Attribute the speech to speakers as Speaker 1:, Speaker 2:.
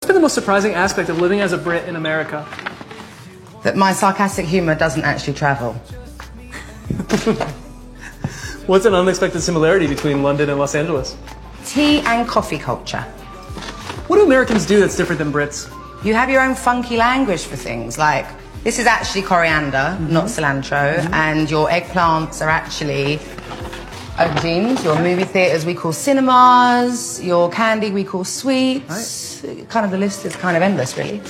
Speaker 1: the most surprising aspect of living as a Brit in America?
Speaker 2: That my sarcastic humour doesn't actually travel.
Speaker 1: What's an unexpected similarity between London and Los Angeles?
Speaker 2: Tea and coffee culture.
Speaker 1: What do Americans do that's different than Brits?
Speaker 2: You have your own funky language for things like this is actually coriander, not cilantro, and your eggplants are actually aubergines. Your movie theaters we call cinemas. Your candy we call sweets. Kind of the list is kind of endless, really.